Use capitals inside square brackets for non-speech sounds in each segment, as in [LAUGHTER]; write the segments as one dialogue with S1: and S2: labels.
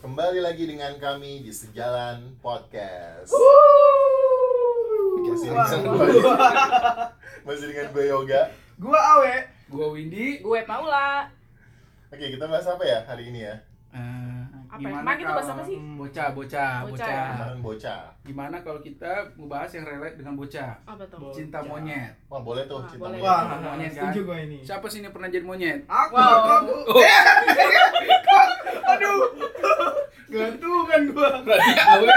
S1: kembali lagi dengan kami di Sejalan Podcast. Kasih
S2: Wah.
S1: lisan
S3: [LAUGHS]
S1: gue. Masih dengan gue Yoga.
S2: Gua Awe.
S4: Gua Windy.
S3: Gue Paula.
S1: Oke, kita bahas apa ya hari ini ya?
S4: Eh,
S3: Apa
S4: gimana
S3: emang itu
S4: kalau-
S3: bahasa apa sih?
S4: Hmm, Bocah, bocah,
S3: Bocah
S4: bocah.
S3: ya?
S1: Kemarin bocah.
S4: Gimana kalau kita membahas yang relate dengan bocah?
S3: Apa tuh?
S4: Cinta
S2: Bocah.
S4: monyet.
S1: Wah, boleh tuh
S3: Wah,
S1: cinta
S3: boleh.
S1: monyet.
S2: Wah,
S4: Monyet, kan?
S2: setuju gua ini.
S4: Siapa sini pernah jadi monyet? [LAUGHS]
S2: Aku,
S3: Wow.
S2: aku.
S4: Oh.
S2: Eh, Aduh. Gantungan gua.
S4: Berarti Awe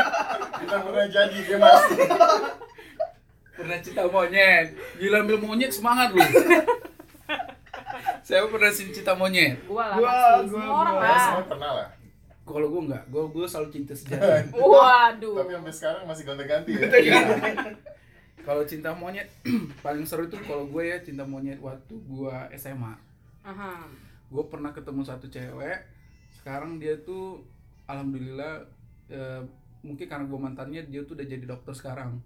S1: Kita pernah jadi dia
S3: [LAUGHS]
S1: masih.
S4: pernah cinta monyet. Gila ambil monyet semangat lu. Saya pernah sin- cinta monyet.
S3: Gua lah
S2: Gua,
S3: pasti.
S2: gua,
S3: Semua orang
S2: gua.
S1: Ya,
S3: lah.
S1: semua pernah lah.
S4: Kalau gua enggak, gua gua selalu cinta
S3: [LAUGHS]
S4: sejati.
S3: Waduh.
S1: Tapi sampai sekarang masih gonta-ganti ya.
S4: Iya. Kalau cinta monyet [CLEARS THROAT] paling seru itu kalau gue ya cinta monyet waktu gua SMA.
S3: Aha.
S4: gue pernah ketemu satu cewek sekarang dia tuh alhamdulillah eh, mungkin karena gue mantannya dia tuh udah jadi dokter sekarang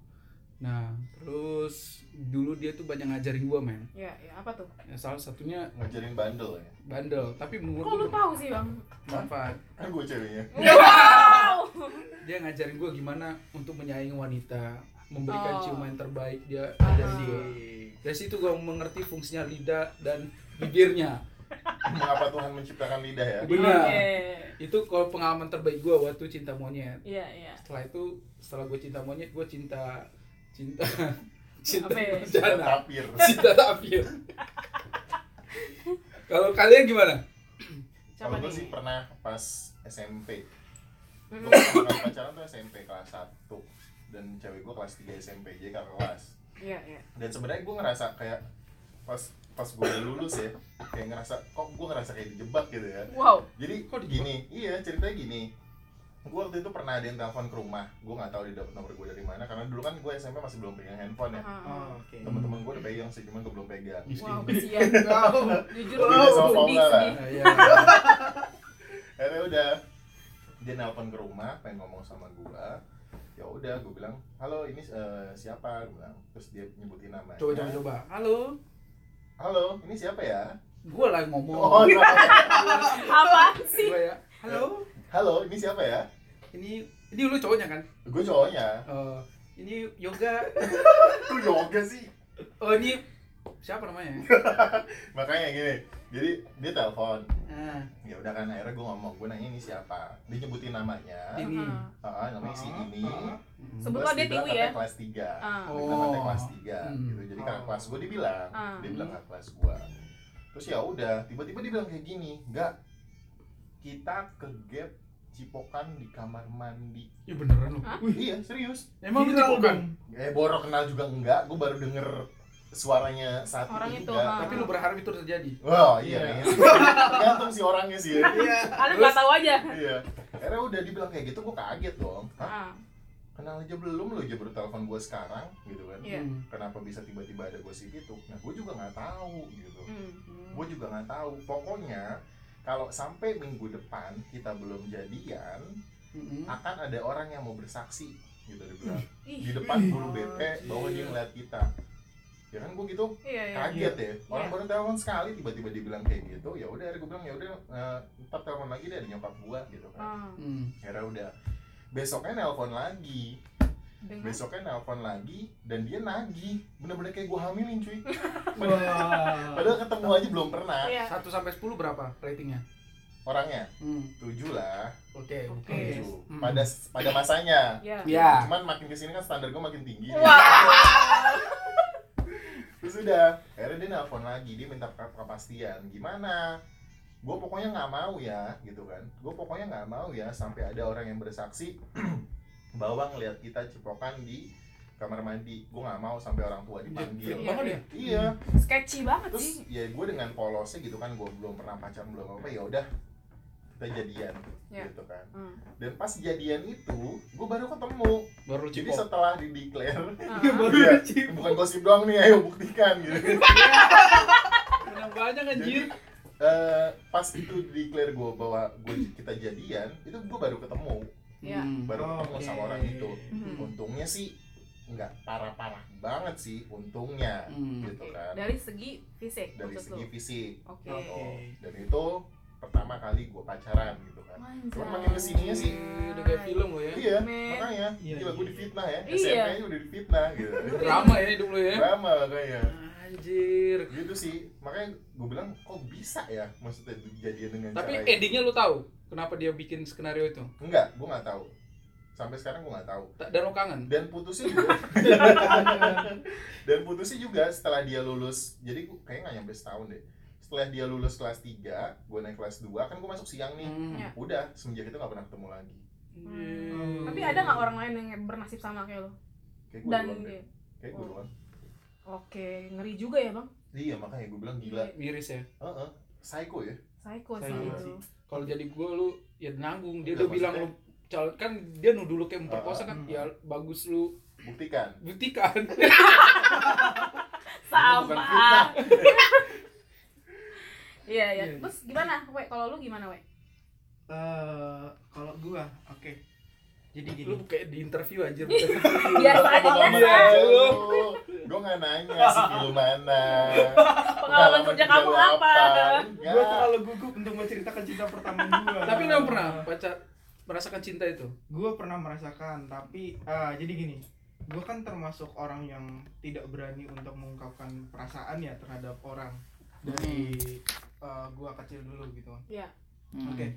S4: nah terus dulu dia tuh banyak ngajarin gue men
S3: Ya, ya apa tuh?
S4: Ya, salah satunya
S1: Ngajarin bandel ya.
S4: bandel tapi
S3: Kok lu
S4: menurut gue
S3: tahu sih, Bang?
S4: bermanfaat
S1: Kan gue ceweknya.
S3: Wow.
S4: dia ngajarin gue gimana untuk menyayangi wanita memberikan
S3: Oh.
S4: ciuman terbaik dia ajarin gue dari situ gue mengerti fungsinya lidah dan
S3: [LAUGHS]
S4: bibirnya
S1: Mengapa Tuhan menciptakan lidah ya?
S4: Benar.
S3: Oke.
S4: itu kalau pengalaman terbaik gue waktu cinta monyet
S3: Iya, iya.
S4: setelah itu setelah gue cinta monyet gue cinta cinta
S3: [LAUGHS]
S4: cinta
S3: Apa ya?
S1: Kita
S4: bencana
S1: tapir.
S4: [LAUGHS] cinta tapir kalau kalian gimana
S3: Siapa
S1: Kalau gue
S3: nih?
S1: sih pernah pas SMP.
S3: Hmm.
S1: Gue pernah pacaran tuh SMP kelas 1 dan cewek gue kelas 3 SMP jadi kakak kelas.
S3: Iya, iya.
S1: Dan sebenarnya gue ngerasa kayak pas pas gue udah lulus ya kayak ngerasa kok gue ngerasa kayak dijebak gitu ya.
S3: Wow.
S1: Jadi
S4: Kok dijebak?
S1: gini, iya ceritanya gini. Gue waktu itu pernah ada yang telepon ke rumah. Gue nggak tahu dia dapat nomor gue dari mana karena dulu kan gue SMP masih belum pegang handphone ya.
S4: Uh-huh.
S3: Aha.
S2: Oke.
S1: Teman-teman gue udah pegang sih, cuman gue belum pegang.
S3: Wow, kesian. Jujur
S1: Wow. Sama
S3: sedih, sedih,
S1: Paula lah.
S3: sedih.
S4: Nah, iya.
S1: akhirnya udah dia nelpon ke rumah pengen ngomong sama gua ya udah gua bilang halo ini eh, siapa gua bilang terus dia nyebutin nama
S4: coba coba coba halo
S1: halo ini siapa ya
S4: gue lagi ngomong
S1: oh, no.
S3: Apa iya sih?
S4: Gua ya halo
S1: [LAUGHS] halo ini siapa ya
S4: ini ini lu cowoknya kan
S1: gua cowoknya
S4: Eh, ini yoga
S1: lu yoga sih
S4: oh ini siapa namanya
S1: makanya gini jadi dia telepon
S4: nah,
S1: ya udah kan akhirnya gua ngomong gua nanya ini siapa dia nyebutin namanya
S4: ini
S1: Ah,
S3: Aha.
S1: namanya si
S2: Ah,
S1: ini
S2: ah.
S4: Hmm.
S3: Sebut
S1: Terus
S3: lah dia
S1: dibilang
S3: Tiwi ya.
S1: katanya kelas 3
S3: Ah.
S4: Oh.
S1: Kita katanya kelas 3
S4: Hmm.
S1: gitu. Jadi kakak
S2: Oh.
S1: kelas gue dibilang,
S3: Ah.
S1: dia bilang kakak kelas gue. Terus ya udah, tiba-tiba dia bilang kayak gini, enggak kita ke gap cipokan di kamar mandi.
S4: ya beneran lu
S3: Hah?
S4: Wih,
S1: Iya serius.
S4: emang lu kan?
S2: Viral
S4: cipokan
S2: dong.
S1: Eh Boro kenal juga enggak, gue baru denger suaranya saat
S3: Orang
S1: itu
S3: itu,
S1: juga.
S3: ah.
S4: tapi lu berharap itu terjadi
S1: Wah iya, iya. tergantung si orangnya sih ya.
S2: Iya.
S3: Kalian nggak tahu aja.
S1: iya. Akhirnya udah dibilang kayak gitu, gue kaget dong. Hah?
S3: Ah,
S1: Kenal aja belum lu aja baru telepon gue sekarang gitu kan.
S3: Iya.
S4: Hmm.
S1: Kenapa bisa tiba-tiba ada gosip itu? Nah gue juga nggak tahu gitu.
S3: hmm.
S1: gue juga nggak tahu pokoknya kalau sampai minggu depan kita belum jadian
S4: Mm-mm.
S1: akan ada orang yang mau bersaksi gitu dia bilang di
S3: Ih,
S1: depan guru BP bahwa dia ngeliat kita ya kan gue gitu
S3: iya, iya.
S1: kaget ya orang
S3: Iya.
S1: baru telepon sekali tiba-tiba dibilang kayak gitu ya udah akhirnya gue bilang ya udah eh, ntar telepon lagi deh ada nyokap gue gitu kan
S3: Ah,
S4: Hmm.
S1: akhirnya udah besoknya nelpon lagi
S4: Iya.
S3: dengan
S1: besoknya nelpon lagi dan dia nagih bener-bener kayak gue hamilin cuy
S4: Oh.
S2: Wah.
S1: padahal ketemu aja belum pernah
S3: Iya.
S4: 1 sampai 10 berapa ratingnya?
S1: orangnya
S4: Hmm.
S1: tujuh lah
S4: Oke.
S3: Oke.
S4: oke.
S1: Tujuh.
S4: Hmm.
S1: pada pada masanya
S3: Iya.
S4: Ya. Iya.
S1: cuman makin kesini kan standar gue makin tinggi
S3: Wah.
S1: terus udah akhirnya dia nelfon lagi dia minta ke- kepastian gimana gue pokoknya nggak mau ya gitu kan gue pokoknya nggak mau ya sampai ada orang yang bersaksi [CLEARS THROAT] bahwa ngelihat kita cipokan di kamar mandi gue nggak mau sampai orang tua dipanggil
S3: Iya.
S4: Banget ya?
S1: iya
S3: Sketchy banget sih.
S1: terus ya gue dengan polosnya gitu kan gue belum pernah pacaran belum apa ya udah kita jadian
S3: Ya.
S1: gitu kan
S3: Hmm.
S1: dan pas jadian itu gue baru ketemu
S4: Baru
S1: Jadi
S4: cipok.
S1: setelah di declare,
S3: Ah.
S1: Iya.
S4: cipok.
S1: [LAUGHS] bukan gosip doang nih, ayo buktikan gitu.
S4: Menang banyak anjir.
S1: Jadi eh, pas itu di declare gue bahwa gua, kita jadian, itu gue baru ketemu,
S3: Iya.
S4: Hmm.
S1: baru ketemu
S2: Oke.
S1: sama orang itu.
S3: Hmm.
S1: Untungnya sih nggak parah-parah banget sih, untungnya
S4: Hmm.
S1: gitu kan.
S3: Dari segi fisik
S1: Dari
S3: maksud lu?
S1: segi fisik.
S3: Oke.
S2: Oke.
S1: Oh, dan itu pertama kali gue pacaran gitu kan Cuman makin kesininya sih
S4: Iya Udah kayak film lo ya.
S1: iya
S3: Men.
S1: makanya
S2: Iya,
S1: gila gue
S2: iya.
S1: difitnah ya
S3: Iya.
S1: SMP nya udah difitnah gitu
S4: Drama ya hidup lo ya.
S1: drama makanya
S4: Anjir.
S1: gitu sih makanya gue bilang kok bisa ya maksudnya jadian dengan
S4: Tapi
S1: cara itu
S4: endingnya lu tahu kenapa dia bikin skenario itu?
S1: enggak gue nggak tahu sampai sekarang gue nggak tahu
S4: Ta- Dan lo kangen.
S1: dan putusnya juga
S3: [LAUGHS]
S1: dan putusnya juga setelah dia lulus jadi gue kayak nggak nyampe setahun deh setelah dia lulus kelas 3 gue naik kelas 2 kan gue masuk siang nih
S4: Hmm.
S3: Iya.
S1: udah semenjak itu nggak pernah ketemu lagi
S4: Anjir.
S3: Tapi ada nggak orang lain yang bernasib sama kayak lo?
S1: kayak gue doang
S3: Dan
S1: deh kayak gue
S3: Oh.
S1: doang
S3: oke, ngeri juga ya bang.
S1: iya makanya gue bilang gila
S4: Miris ya.
S1: Heeh, psycho ya
S3: Psycho sih
S4: Psycho
S3: itu.
S4: sih. Kalau jadi gue lu ya nanggung. Dia
S1: Enggak,
S4: udah bilang lu
S1: maksudnya-
S4: cal- kan dia nuduh lu kayak memperkosa
S2: Ah,
S4: kan
S2: ah.
S4: ya bagus lu
S1: buktikan
S4: buktikan
S1: bukan
S3: Sama.
S1: fitnah.
S3: [LAUGHS] Iya iya.
S2: Iya.
S3: Terus gimana, we? Kalau lu gimana, we?
S2: Eh, kalau gua, oke. Jadi gini.
S4: lu kayak di interview aja [LAUGHS]
S3: Biasa aja biasa.
S1: Iya, lu. Gue nggak nanya sih film mana
S3: Pengalaman kerja kamu
S1: lu
S3: apa?
S1: Enggak.
S2: Gua terlalu gugup untuk menceritakan cinta pertama gua.
S4: tapi lu yang pernah pacar merasakan cinta itu
S2: Gua pernah merasakan, tapi ah, jadi gini. Gua kan termasuk orang yang tidak berani untuk mengungkapkan perasaan ya terhadap orang dari eh, gua kecil dulu gitu.
S3: Iya.
S2: Oke.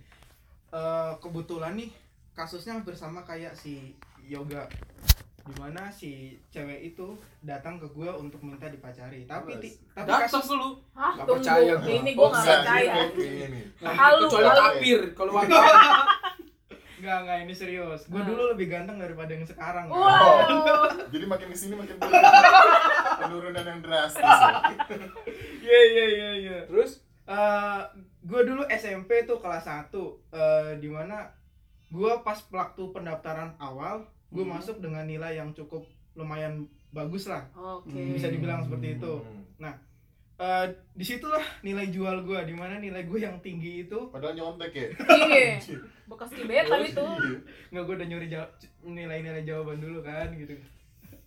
S2: Eh, kebetulan nih kasusnya hampir sama kayak si Yoga dimana si cewek itu datang ke gue untuk minta dipacari tapi ti- tapi
S4: datang
S2: kasus
S4: lu
S3: Hah,
S4: Nggak
S3: tunggu.
S4: percaya gua.
S3: Ini
S1: Oh,
S3: gua nggak
S1: enggak, [LAUGHS]
S3: percaya.
S1: dia kayak gini.
S3: Halo,
S4: kecuali
S1: halo.
S4: tapir kalau
S2: [LAUGHS]
S4: wangi
S2: nggak nggak ini serius gue
S3: Ah.
S2: dulu lebih ganteng daripada yang sekarang kan?
S3: Wow.
S1: Jadi makin kesini makin penurunan, penurunan yang drastis. ya.
S2: iya iya iya iya
S4: terus
S2: gue Eh, dulu SMP tuh kelas 1 eh dimana gue pas waktu pendaftaran awal gue
S4: Hmm.
S2: masuk dengan nilai yang cukup lumayan bagus lah
S3: Oke.
S2: [LAUGHS] bisa dibilang seperti [LAUGHS] itu
S1: Hmm.
S2: Eh, disitulah nilai jual gue dimana nilai gue yang tinggi itu
S1: Padahal nyontek ya.
S3: Iya. Bekas gebetan kan itu.
S1: Iya.
S2: nggak gue udah nyuri jaw- nilai-nilai jawaban dulu kan gitu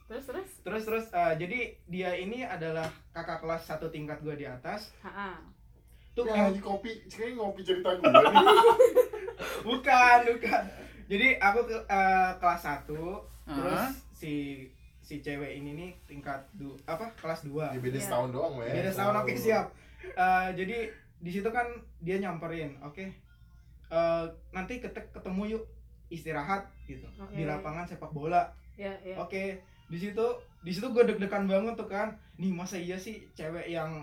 S3: Terus terus.
S2: terus terus eh, jadi dia ini adalah kakak kelas satu tingkat gue di atas
S3: Heeh.
S2: tuh
S1: Nah,
S2: kan? em-
S1: ini kopi, kayaknya ngopi cerita gue nih.
S2: [LAUGHS] bukan bukan jadi aku ke eh, kelas satu terus
S4: terus
S2: si si cewek ini nih tingkat du apa kelas dua
S1: Ya, beda
S3: Iya.
S1: setahun doang, men.
S2: beda tahun
S1: Oh.
S2: oke siap Eh, jadi di situ kan dia nyamperin oke Eh, nanti ketek ketemu yuk istirahat gitu
S3: Oke.
S2: di lapangan sepak bola
S3: Iya iya.
S2: Oke, di situ di situ gue deg-degan banget tuh kan. Nih masa iya sih cewek yang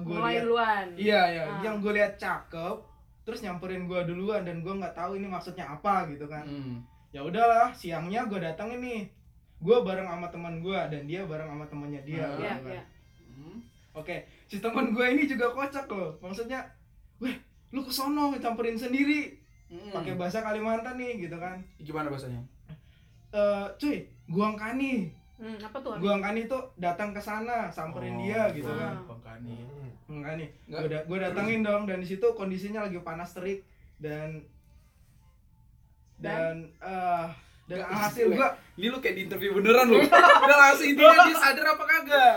S2: gue
S3: Mulai
S2: lihat,
S3: duluan.
S2: iya iya,
S3: Ah.
S2: yang gue lihat cakep, terus nyamperin gue duluan dan gue nggak tahu ini maksudnya apa gitu kan.
S4: hmm.
S2: Ya udahlah, siangnya gue datang ini, gue bareng sama teman gue dan dia bareng sama temannya dia.
S4: Ah.
S2: gitu
S3: Iya
S2: kan.
S3: iya.
S2: Oke, si teman gue ini juga kocak loh. Maksudnya, weh lu kesono campurin sendiri
S4: Hmm.
S2: pakai bahasa Kalimantan nih gitu kan.
S4: gimana bahasanya
S2: Eh, cuy, guang kani
S3: Hmm, apa tuh?
S2: Guang Kani tuh datang ke sana samperin dia gitu
S3: Ah.
S2: kan.
S4: Bangkani
S1: Hmm.
S2: Enggak nih.
S4: Oh. Nggak.
S2: Gue gue datangin dong dan di situ kondisinya lagi panas terik dan dan eh dan
S4: Nggak,
S2: hasil
S4: gue-
S2: gua
S4: ini lu kayak di interview beneran
S2: [LAUGHS]
S4: lu udah langsung intinya dia sadar apa kagak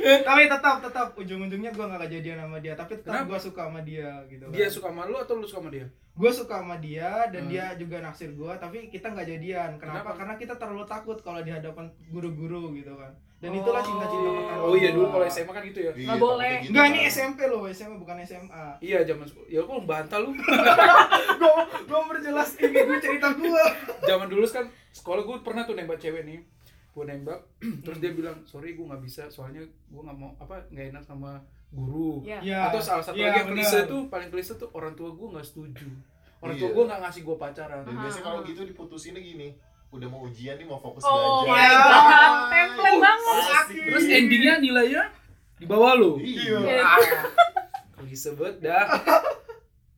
S2: tapi tetap tetap ujung-ujungnya gua nggak kejadian sama dia tapi tetap
S4: Kenapa?
S2: gua suka sama dia gitu kan.
S4: dia suka sama lu atau lu suka sama dia
S2: Gua suka sama dia dan
S4: Hmm.
S2: dia juga naksir gua tapi kita nggak jadian. Kenapa?
S4: Kenapa?
S2: Karena kita terlalu takut kalau di hadapan guru-guru gitu kan. Dan
S4: Oh.
S2: itulah cinta-cinta pertama.
S4: oh iya dulu
S2: gua.
S4: kalau SMA kan gitu ya
S1: Iya,
S3: Nggak
S1: takutnya
S3: boleh.
S1: gitu,
S2: Enggak
S1: kan.
S2: ini SMP loh, SMA bukan
S4: [LAUGHS]
S2: SMA.
S4: iya zaman sekolah ya kok bantal lu
S2: gue gue perjelas ini gue cerita gue
S4: zaman dulu kan sekolah gue pernah tuh nembak cewek nih gue nembak [CLEARS THROAT] terus dia bilang sorry gue nggak bisa soalnya gue nggak mau apa nggak enak sama guru
S3: Iya.
S2: ya
S4: atau salah satu
S2: Iya,
S4: lagi yang
S2: benar.
S4: klise tuh paling klise tuh orang tua gue nggak setuju orang tua
S1: Iya.
S4: gue nggak ngasih gue pacaran
S2: Iya.
S1: Dan biasanya
S3: Ah,
S1: kalau
S3: ah.
S1: gitu diputusinnya gini. Udah mau ujian nih, mau fokus
S3: Oh my
S1: belajar.
S3: god,
S1: Iya.
S3: template banget.
S1: Asik.
S4: terus endingnya nilainya di bawah lu
S1: Iya.
S3: Iya.
S4: Ah, klise banget
S2: [LAUGHS]
S4: dah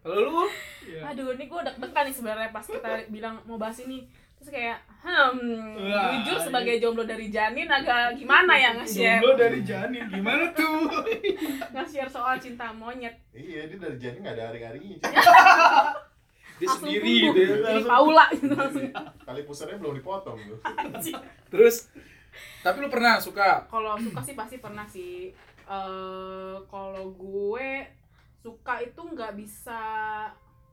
S4: kalau lu
S3: Aduh, ini gue deg-degan nih sebenarnya pas kita bilang mau bahas ini. Terus kayak, hmm,
S2: Wah,
S3: jujur
S2: iya.
S3: sebagai jomblo dari janin agak gimana ya nge-share
S2: jomblo dari janin gimana tuh
S3: nge-share soal cinta monyet.
S1: Iya, dia dari jadi nggak ada hari-harinya.
S4: dia
S3: Langsung
S4: sendiri
S3: tumbuh.
S4: gitu ya.
S3: Jadi Paula gitu langsung.
S1: Kali pusarnya belum dipotong tuh.
S4: terus tapi lu pernah suka
S3: Kalau suka sih pasti pernah sih. Eh, kalau gue suka itu nggak bisa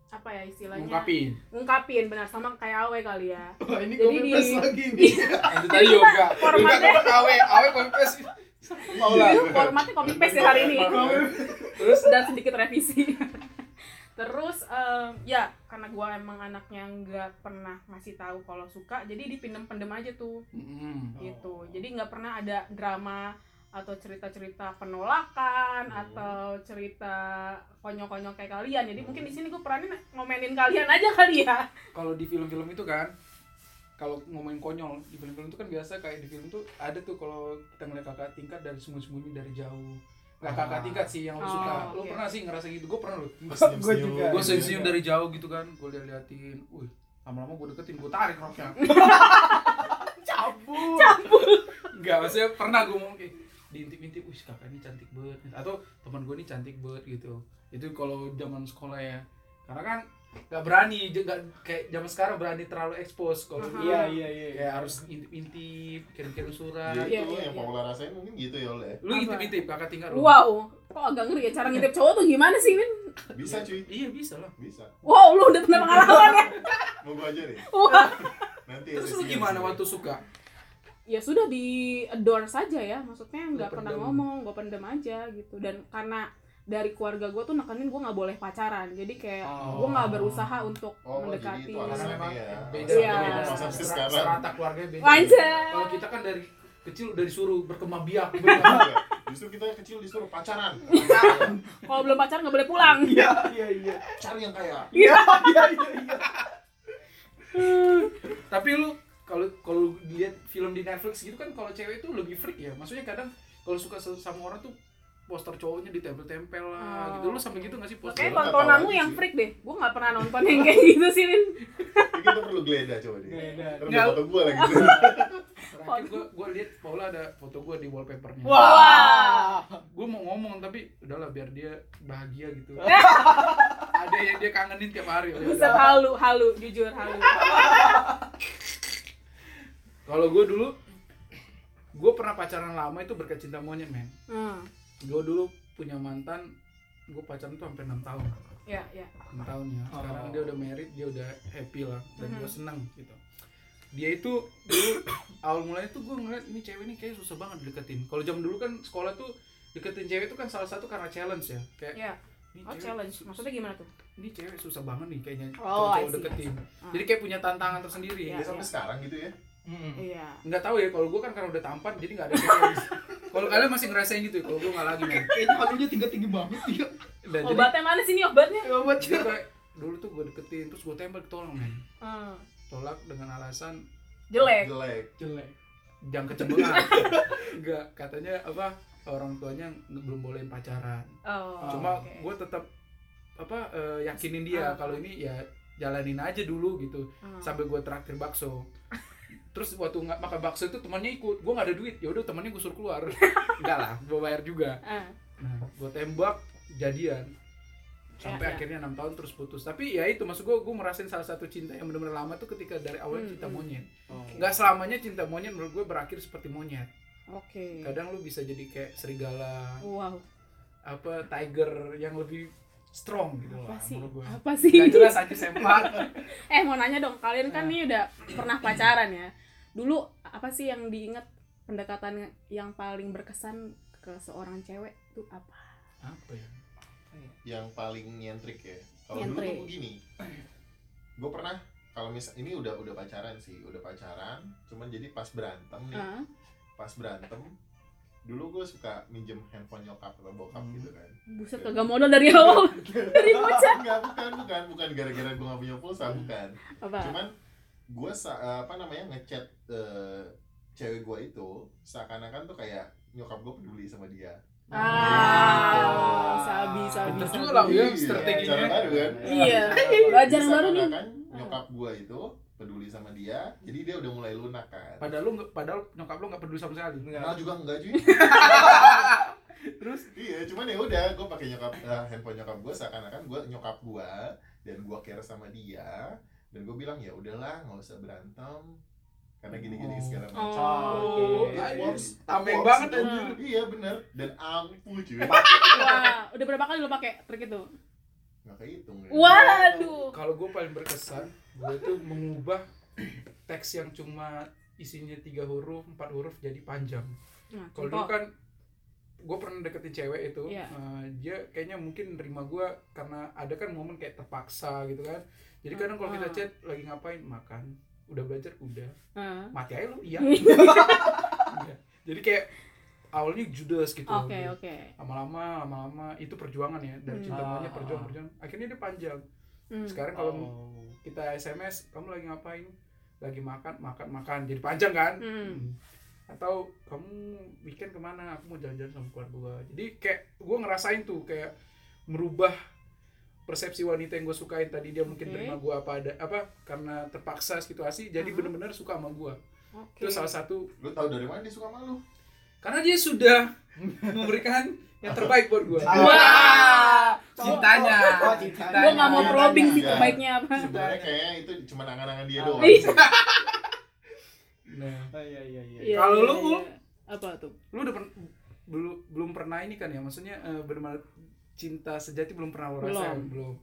S3: apa ya istilahnya
S4: Ungkapin.
S3: Ngungkapin, benar sama kayak awe kali ya
S2: Wah, ini
S3: Jadi
S2: gue bebas
S3: di-
S2: lagi nih.
S4: Eh, Itu tadi yoga. Yoga
S3: formatnya-
S4: gue awe, awe pempes.
S2: Iya.
S4: Mau
S1: Iya.
S4: lah.
S3: Itu formatnya copy paste ya hari ini
S4: Terus
S3: dan sedikit revisi [LAUGHS] terus em, ya karena gua emang anaknya nggak pernah ngasih tahu kalau suka jadi dipendem-pendem aja tuh
S4: Mm,
S2: Oh.
S3: gitu jadi nggak pernah ada drama atau cerita-cerita penolakan
S1: Hmm.
S3: atau cerita konyol-konyol kayak kalian jadi mungkin di sini gue peranin ngomelin kalian aja kali ya
S4: kalau di film-film itu kan kalau ngomongin konyol di film-film itu kan biasa kayak di film tuh ada tuh kalau kita ngeliat kakak tingkat dari sembunyi-sembunyi dari jauh nggak kakak
S1: Ah.
S4: tingkat sih yang lo
S3: Oh,
S4: suka lo
S3: oke.
S4: pernah sih ngerasa gitu gue pernah lo
S2: Gua juga.
S4: gue
S1: Iya,
S4: senyum dari jauh gitu kan gue liat-liatin wih lama-lama gue deketin gue tarik roknya cabut cabut nggak maksudnya pernah gue ngomong kayak diintip-intip wih kakak ini cantik banget atau teman gue ini cantik banget gitu itu kalau zaman sekolah ya karena kan nggak berani j- nggak kayak zaman sekarang berani terlalu expose kalau
S3: Aha.
S4: dulu
S2: Iya, iya, iya.
S4: kayak harus intip-intip kirim-kirim surat
S1: Jadi itu
S3: Iya, iya,
S1: Gitu, yang
S3: iya.
S1: populer rasain mungkin gitu ya oleh.
S4: lu
S3: Apa?
S4: intip-intip kakak tingkat lu
S3: wow kok agak ngeri ya cara ngintip cowok tuh gimana sih Win
S1: Bisa cuy,
S4: iya bisa lah
S1: bisa.
S3: wow lu udah pernah pengalaman ya
S1: Mau gua ajarin.
S3: Wah.
S1: Nanti
S4: terus lu
S1: sesi-
S4: gimana
S1: sesi.
S4: waktu suka
S3: ya sudah di adore saja ya maksudnya
S4: Lu
S3: nggak pernah
S4: pendem.
S3: ngomong gue pendem aja gitu dan karena dari keluarga gue tuh nekenin gue nggak boleh pacaran jadi kayak
S4: Oh.
S3: gue nggak berusaha untuk
S1: Oh, jadi
S3: mendekati
S1: itu
S2: Karena
S1: alasannya
S2: memang
S1: ya.
S4: beda
S3: Iya.
S4: beda
S1: Alasannya
S4: Serata-
S1: konsepsi sekarang.
S4: serata keluarga beda
S3: Wajar.
S4: kalau kita kan dari kecil udah disuruh berkembang biak
S1: [LAUGHS] Iya. Justru kita kecil disuruh
S4: [LAUGHS]
S1: pacaran.
S3: kalau belum pacaran nggak boleh pulang
S2: Iya, iya, iya.
S1: Cari yang kaya.
S2: Iya, iya, iya, iya.
S4: tapi lu kalau kalau lihat film di Netflix gitu kan kalau cewek itu lebih freak ya maksudnya kadang kalau suka se- sama orang tuh poster cowoknya ditempel-tempel
S3: Oh.
S4: lah gitu lu sampai gitu gak sih poster
S3: Makanya
S1: Lu nggak
S3: tontonanmu
S1: tahu aja
S3: yang
S1: sih.
S3: freak deh. Gue nggak pernah nonton yang kayak gitu sih, Lin.
S1: Jadi kita perlu geledah coba deh.
S2: Geledah.
S1: Terus
S4: Nggak.
S1: foto gua
S4: [LAUGHS]
S1: lagi.
S4: terakhir gua gua lihat Paula ada foto gua di wallpapernya
S2: Wah.
S4: gua mau ngomong tapi udahlah biar dia bahagia
S3: [LAUGHS]
S4: gitu ada yang dia kangenin tiap hari ya
S3: Bisa
S4: udah.
S3: halu, halu, jujur halu.
S4: kalau gua dulu gua pernah pacaran lama itu berkat cinta monyet men
S3: Hmm,
S4: gua dulu punya mantan gua pacaran tuh hampir 6 tahun
S3: ya, ya.
S4: 6 tahun ya sekarang
S2: Oh.
S4: dia udah married dia udah happy lah dan
S3: Mhm.
S4: gue seneng gitu dia itu dulu awal mulanya tuh gue ngeliat ini cewek ini kayak susah banget deketin kalau zaman dulu kan sekolah tuh deketin cewek itu kan salah satu karena challenge ya kayak
S3: Iya.
S4: ini
S3: Oh,
S4: cewek-
S3: challenge. Maksudnya gimana tuh?
S4: ini cewek susah banget nih kayaknya
S3: Oh, I
S4: cowok
S3: see,
S4: deketin
S3: Ah.
S4: jadi kayak punya tantangan tersendiri
S3: Iya.
S1: Dia sampai sekarang gitu ya.
S2: Hmm.
S3: Iya.
S4: nggak tahu ya kalau gue kan karena udah tampan jadi nggak ada gitu. challenge [LAUGHS] kalau kalian masih ngerasain gitu ya, kalau gue nggak lagi men
S2: Kayaknya halunya tinggi-tinggi banget ya.
S4: dan jadi,
S3: Obatnya mana sih nih obatnya?
S2: Coba
S4: jadi kayak dulu tuh gue deketin terus gue tembak tolong men
S3: Hmm,
S4: tolak dengan alasan
S3: Jelek.
S1: Jelek.
S2: jelek.
S4: jam kecemburuan [LAUGHS] enggak katanya apa orang tuanya nge- belum bolehin pacaran
S3: Oh.
S4: cuma
S3: oke.
S4: gue tetap apa eh, yakinin
S3: Ah.
S4: dia kalau ini ya jalanin aja dulu gitu
S3: Hmm.
S4: sampai gue traktir bakso terus waktu nggak makan bakso itu temannya ikut gue nggak ada duit ya udah temannya gue
S3: [LAUGHS]
S4: suruh keluar enggak lah gue bayar juga
S3: Ah,
S4: nah gue tembak jadian
S3: ya,
S4: sampai
S3: ya.
S4: akhirnya enam tahun terus putus tapi ya itu maksud gue gue merasain salah satu cinta yang benar-benar lama tuh ketika dari awal
S3: Hmm,
S4: cinta
S3: hmm.
S4: monyet
S3: Oke.
S4: nggak selamanya cinta monyet menurut gue berakhir seperti monyet
S3: Oke.
S4: kadang lu bisa jadi kayak serigala
S3: Wow.
S4: apa tiger yang lebih strong gitu
S3: Apa
S4: lah
S3: sih?
S4: menurut gue
S3: Apa sih?
S4: nggak jelas aja
S3: [LAUGHS]
S4: sempat
S3: Eh mau nanya dong, kalian kan
S4: Ah.
S3: nih udah pernah pacaran ya. Dulu apa sih yang diingat pendekatan yang paling berkesan ke seorang cewek itu apa?
S4: apa ya
S1: yang paling nyentrik ya kalau dulu
S3: Nyentrik.
S1: tuh begini gue pernah kalau misal ini udah udah pacaran sih udah pacaran cuman jadi pas berantem
S4: Hmm.
S1: nih
S3: Ah,
S1: pas berantem dulu gue suka minjem handphone nyokap atau bokap
S4: Hmm.
S1: gitu kan
S3: buset kagak modal dari awal
S4: [LAUGHS]
S3: dari bocah.
S1: enggak bukan bukan bukan gara-gara gue gak punya pulsa bukan
S3: Apa?
S1: cuman gue apa namanya ngechat eh, cewek gue itu seakan-akan tuh kayak nyokap gue peduli sama dia
S3: Ah, sabi sabi.
S4: Bener
S3: sabi.
S4: juga lah, Wil.
S1: Iya,
S4: strateginya.
S1: cara baru kan
S3: Iya.
S1: Jadi
S3: Belajar baru nih.
S1: seakan-akan nyokap gua itu peduli sama dia, jadi dia udah mulai lunak kan.
S4: padahal ya. lu nggak- padahal nyokap lu nggak peduli sama sekali
S1: Kenal juga enggak cuy.
S4: [LAUGHS] terus
S1: iya, cuman ya udah gua pakai nyokap eh, handphone nyokap gua seakan-akan gua nyokap gua dan gua care sama dia dan gua bilang ya udahlah nggak usah berantem karena gini-gini segala
S3: Oh.
S1: macam.
S4: Oh,
S1: It
S4: anjir.
S1: works.
S4: Tameng
S1: Works.
S4: banget, anjir.
S1: Iya bener. Dan ampuh cuy.
S3: Wah, udah berapa kali lo pakai trik itu?
S1: Nggak kehitung. ya.
S3: Waduh.
S4: Kalau gue paling berkesan, gue tuh mengubah teks yang cuma isinya tiga huruf, empat huruf jadi panjang.
S3: Nah,
S4: Kalau
S3: contoh.
S4: dulu kan gue pernah deketin cewek itu,
S3: Iya.
S4: eh, dia kayaknya mungkin nerima gue karena ada kan momen kayak terpaksa gitu kan. Jadi kadang kalau kita
S3: Ah.
S4: chat lagi ngapain makan, udah belajar udah,
S3: Heeh.
S4: mati aja
S3: [LAUGHS]
S4: lu iya. Iya. Jadi kayak awalnya judes gitu.
S3: Oke, oke.
S4: Lama-lama, lama-lama itu perjuangan ya dari
S3: Hmm.
S4: cinta maunya
S2: Ah.
S4: perjuangan, perjuangan. Akhirnya dia panjang.
S3: Hmm.
S4: Sekarang kalau
S2: Oh.
S4: kita SMS, kamu lagi ngapain? Lagi makan, makan, makan. Jadi panjang kan?
S3: Hmm.
S4: Hmm. Atau kamu weekend kemana? Aku mau jalan-jalan sama keluarga gua. Jadi kayak gue ngerasain tuh kayak merubah persepsi wanita yang gue sukain tadi dia mungkin
S3: Oke.
S4: terima gue apa ada apa karena terpaksa situasi jadi
S3: Aha.
S4: bener-bener suka sama gue
S3: Oke.
S4: itu salah satu
S1: Lu tau dari mana dia suka malu?
S4: karena dia sudah memberikan yang terbaik buat gue
S3: Wah.
S5: Cintanya.
S2: Oh,
S5: Cintanya.
S3: Gua nggak mau
S5: Iya,
S3: probing
S1: iya,
S3: sih
S1: iya.
S3: terbaiknya apa.
S1: Sebenarnya kayaknya itu cuma angan-angan dia doang. [LAUGHS]
S3: Iya.
S4: nah
S2: Oh, iya iya iya.
S3: Iya,
S4: Kalau
S3: iya,
S4: lu, Ul?
S3: iya. apa tuh?
S4: lu udah pern- belum belum pernah ini kan ya maksudnya eh, benar-benar cinta sejati belum pernah lo
S3: Belum.
S4: rasain belum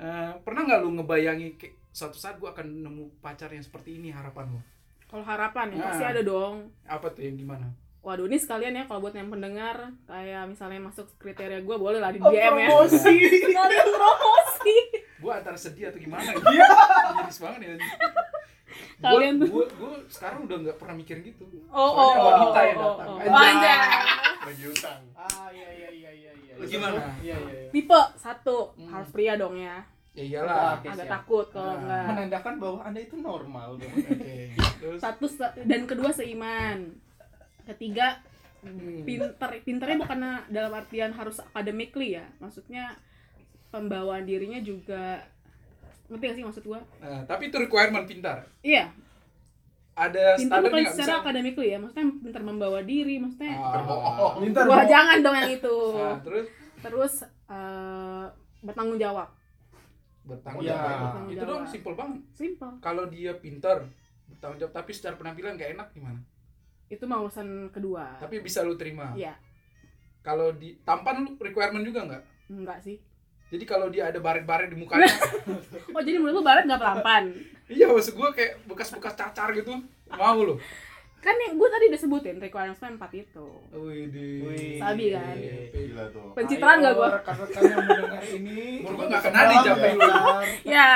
S4: Eh, pernah nggak lu ngebayangi kayak, suatu saat gua akan nemu pacar yang seperti ini harapan lo
S3: Kalau harapan ya
S4: Nah.
S3: pasti ada dong.
S4: apa tuh yang gimana
S3: Waduh ini sekalian ya kalau buat yang pendengar kayak misalnya masuk kriteria gue boleh lah di
S2: Oh,
S3: DM ya.
S2: promosi.
S3: Sekalian promosi.
S4: gua antara sedih atau
S3: [LAUGHS]
S4: gimana ya miris banget ya gua,
S3: Kalian tuh-
S4: gua, gua sekarang udah nggak pernah mikir gitu
S3: Oh
S4: Soalnya
S3: oh oh.
S4: wanita yang
S3: oh,
S4: datang.
S3: [LAUGHS] oh.
S2: Iya.
S4: Anjay.
S1: Lagi utang.
S2: Ah iya iya iya iya iya.
S4: Lu gimana?
S2: Iya iya iya.
S3: Tipe satu
S4: Hmm.
S3: harus pria dong ya.
S4: ya iyalah
S2: Oke,
S3: Agak
S2: siap.
S3: takut kalau
S4: Ah.
S3: enggak.
S2: Menandakan bahwa Anda itu normal
S3: [LAUGHS]
S2: dong.
S4: oke terus
S3: Satu se- dan kedua seiman. Ketiga
S4: hmm,
S3: pinter pinternya bukan dalam artian harus academically ya maksudnya pembawaan dirinya juga ngerti gak sih maksud gua
S4: nah, tapi itu requirement pintar
S3: iya
S4: ada
S3: pinter bukan
S4: standarnya nggak
S3: secara
S4: bisa
S3: academically ya maksudnya pinter membawa diri maksudnya
S4: Ah,
S2: Pintar.
S3: wah jangan dong yang itu
S4: [LAUGHS] ah, terus
S3: terus eh, bertanggung jawab
S4: bertanggung
S2: Iya.
S4: jawab
S3: Bertanggung
S4: itu dong
S3: jawab.
S4: simple banget
S3: simple
S4: kalau dia pintar bertanggung jawab tapi secara penampilan gak enak gimana
S3: itu mah urusan kedua
S4: tapi bisa lu terima
S3: iya
S4: kalau di tampan lu requirement juga nggak
S3: enggak sih
S4: jadi kalau dia ada baret-baret di mukanya
S3: [LAUGHS] oh jadi menurut lu barat nggak
S4: [LAUGHS]
S3: pelampan
S4: iya maksud gua kayak bekas-bekas cacar gitu mau lu
S3: kan yang gue tadi udah sebutin requirement empat itu
S4: wih
S2: Wih.
S3: Sabi kan?
S1: Gila tuh.
S4: Ah,
S3: pencitraan gak
S2: Ayo,
S3: gue
S2: Rekan-rekan yang mendengar ini.
S4: Menurut gua nggak kena nih,
S2: Tetap
S1: Jam.
S2: daftar.
S4: iya.
S3: ya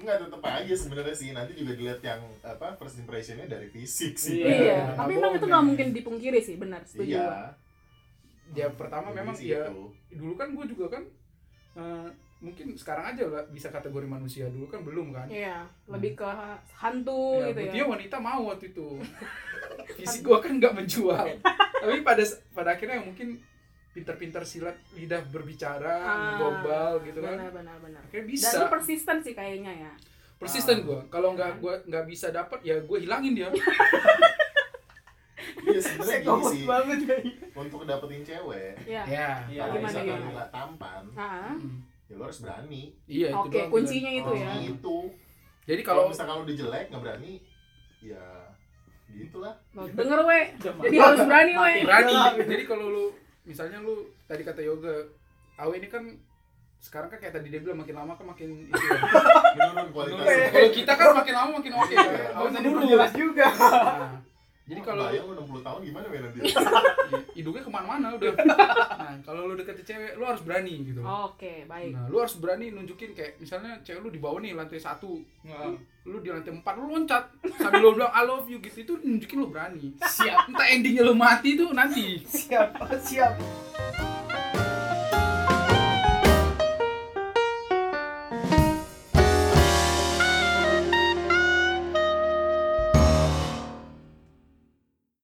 S1: Enggak Iya. tetep aja sebenarnya sih nanti juga dilihat yang apa first impressionnya dari fisik sih.
S2: Iya.
S3: iya tapi emang itu nggak
S4: Abongan.
S3: mungkin dipungkiri sih benar setuju
S1: Iya.
S3: gua.
S4: ya pertama
S1: Jadi
S4: memang
S1: iya sih
S4: ya
S1: itu.
S4: dulu kan gua juga kan eh, mungkin sekarang aja lah bisa kategori manusia dulu kan belum kan
S3: Iya, lebih ke hantu
S4: ya,
S3: gitu ya.
S4: dia wanita mau waktu
S3: [LAUGHS]
S4: itu fisik gua kan nggak menjual tapi pada pada akhirnya mungkin pinter-pinter silat lidah berbicara
S3: Ah,
S4: global gitu kan
S3: Benar benar benar.
S4: akhirnya
S3: Dan lu Ah.
S4: bisa
S3: persisten sih kayaknya ya.
S4: persisten gua kalau nggak gua nggak bisa dapat ya gua hilangin dia
S1: Iya sebenarnya
S2: Saya
S1: gini
S2: gobot
S1: sih
S2: banget ya.
S1: untuk dapetin cewek.
S3: Iya.
S4: ya
S2: Iya.
S1: Kalau
S3: Gimana,
S1: misalkan
S3: gimana?
S1: lu nggak tampan,
S3: Ah,
S4: Hmm.
S1: ya lu harus berani.
S4: iya itu
S3: Oke,
S4: doang
S3: kuncinya itu
S4: Oh,
S3: ya.
S1: Nah, Itu.
S4: gua. jadi
S1: Kalau
S4: kalau
S1: misalkan lu udah jelek nggak berani, ya
S4: [LAUGHS]
S1: gitulah.
S3: Lo denger we.
S2: Jam.
S3: Jadi harus berani we.
S4: berani
S3: Iya.
S4: jadi kalau lu misalnya lu tadi kata yoga awe ini kan sekarang kan kayak tadi dia bilang makin lama kan makin itu [LAUGHS] ya.
S1: Menurun kualitas.
S2: Menurun.
S4: kalau kita kan makin lama makin oke ya.
S1: Iya.
S2: Nggak
S4: Awe
S2: usah
S4: tadi
S2: diperjelas juga.
S4: Nah, jadi kalau
S1: bayang lu 60 tahun gimana ya nanti?
S4: [LAUGHS] hidungnya kemana-mana udah nah kalau lu deketin cewek lu harus berani gitu
S3: Oke, Oh, baik.
S4: nah lu harus berani nunjukin kayak misalnya cewek lu di bawah nih lantai satu lu, lu di lantai empat lu loncat sambil lu bilang I love you gitu itu nunjukin lu berani siap entah endingnya lu mati tuh nanti
S2: Siap, siap.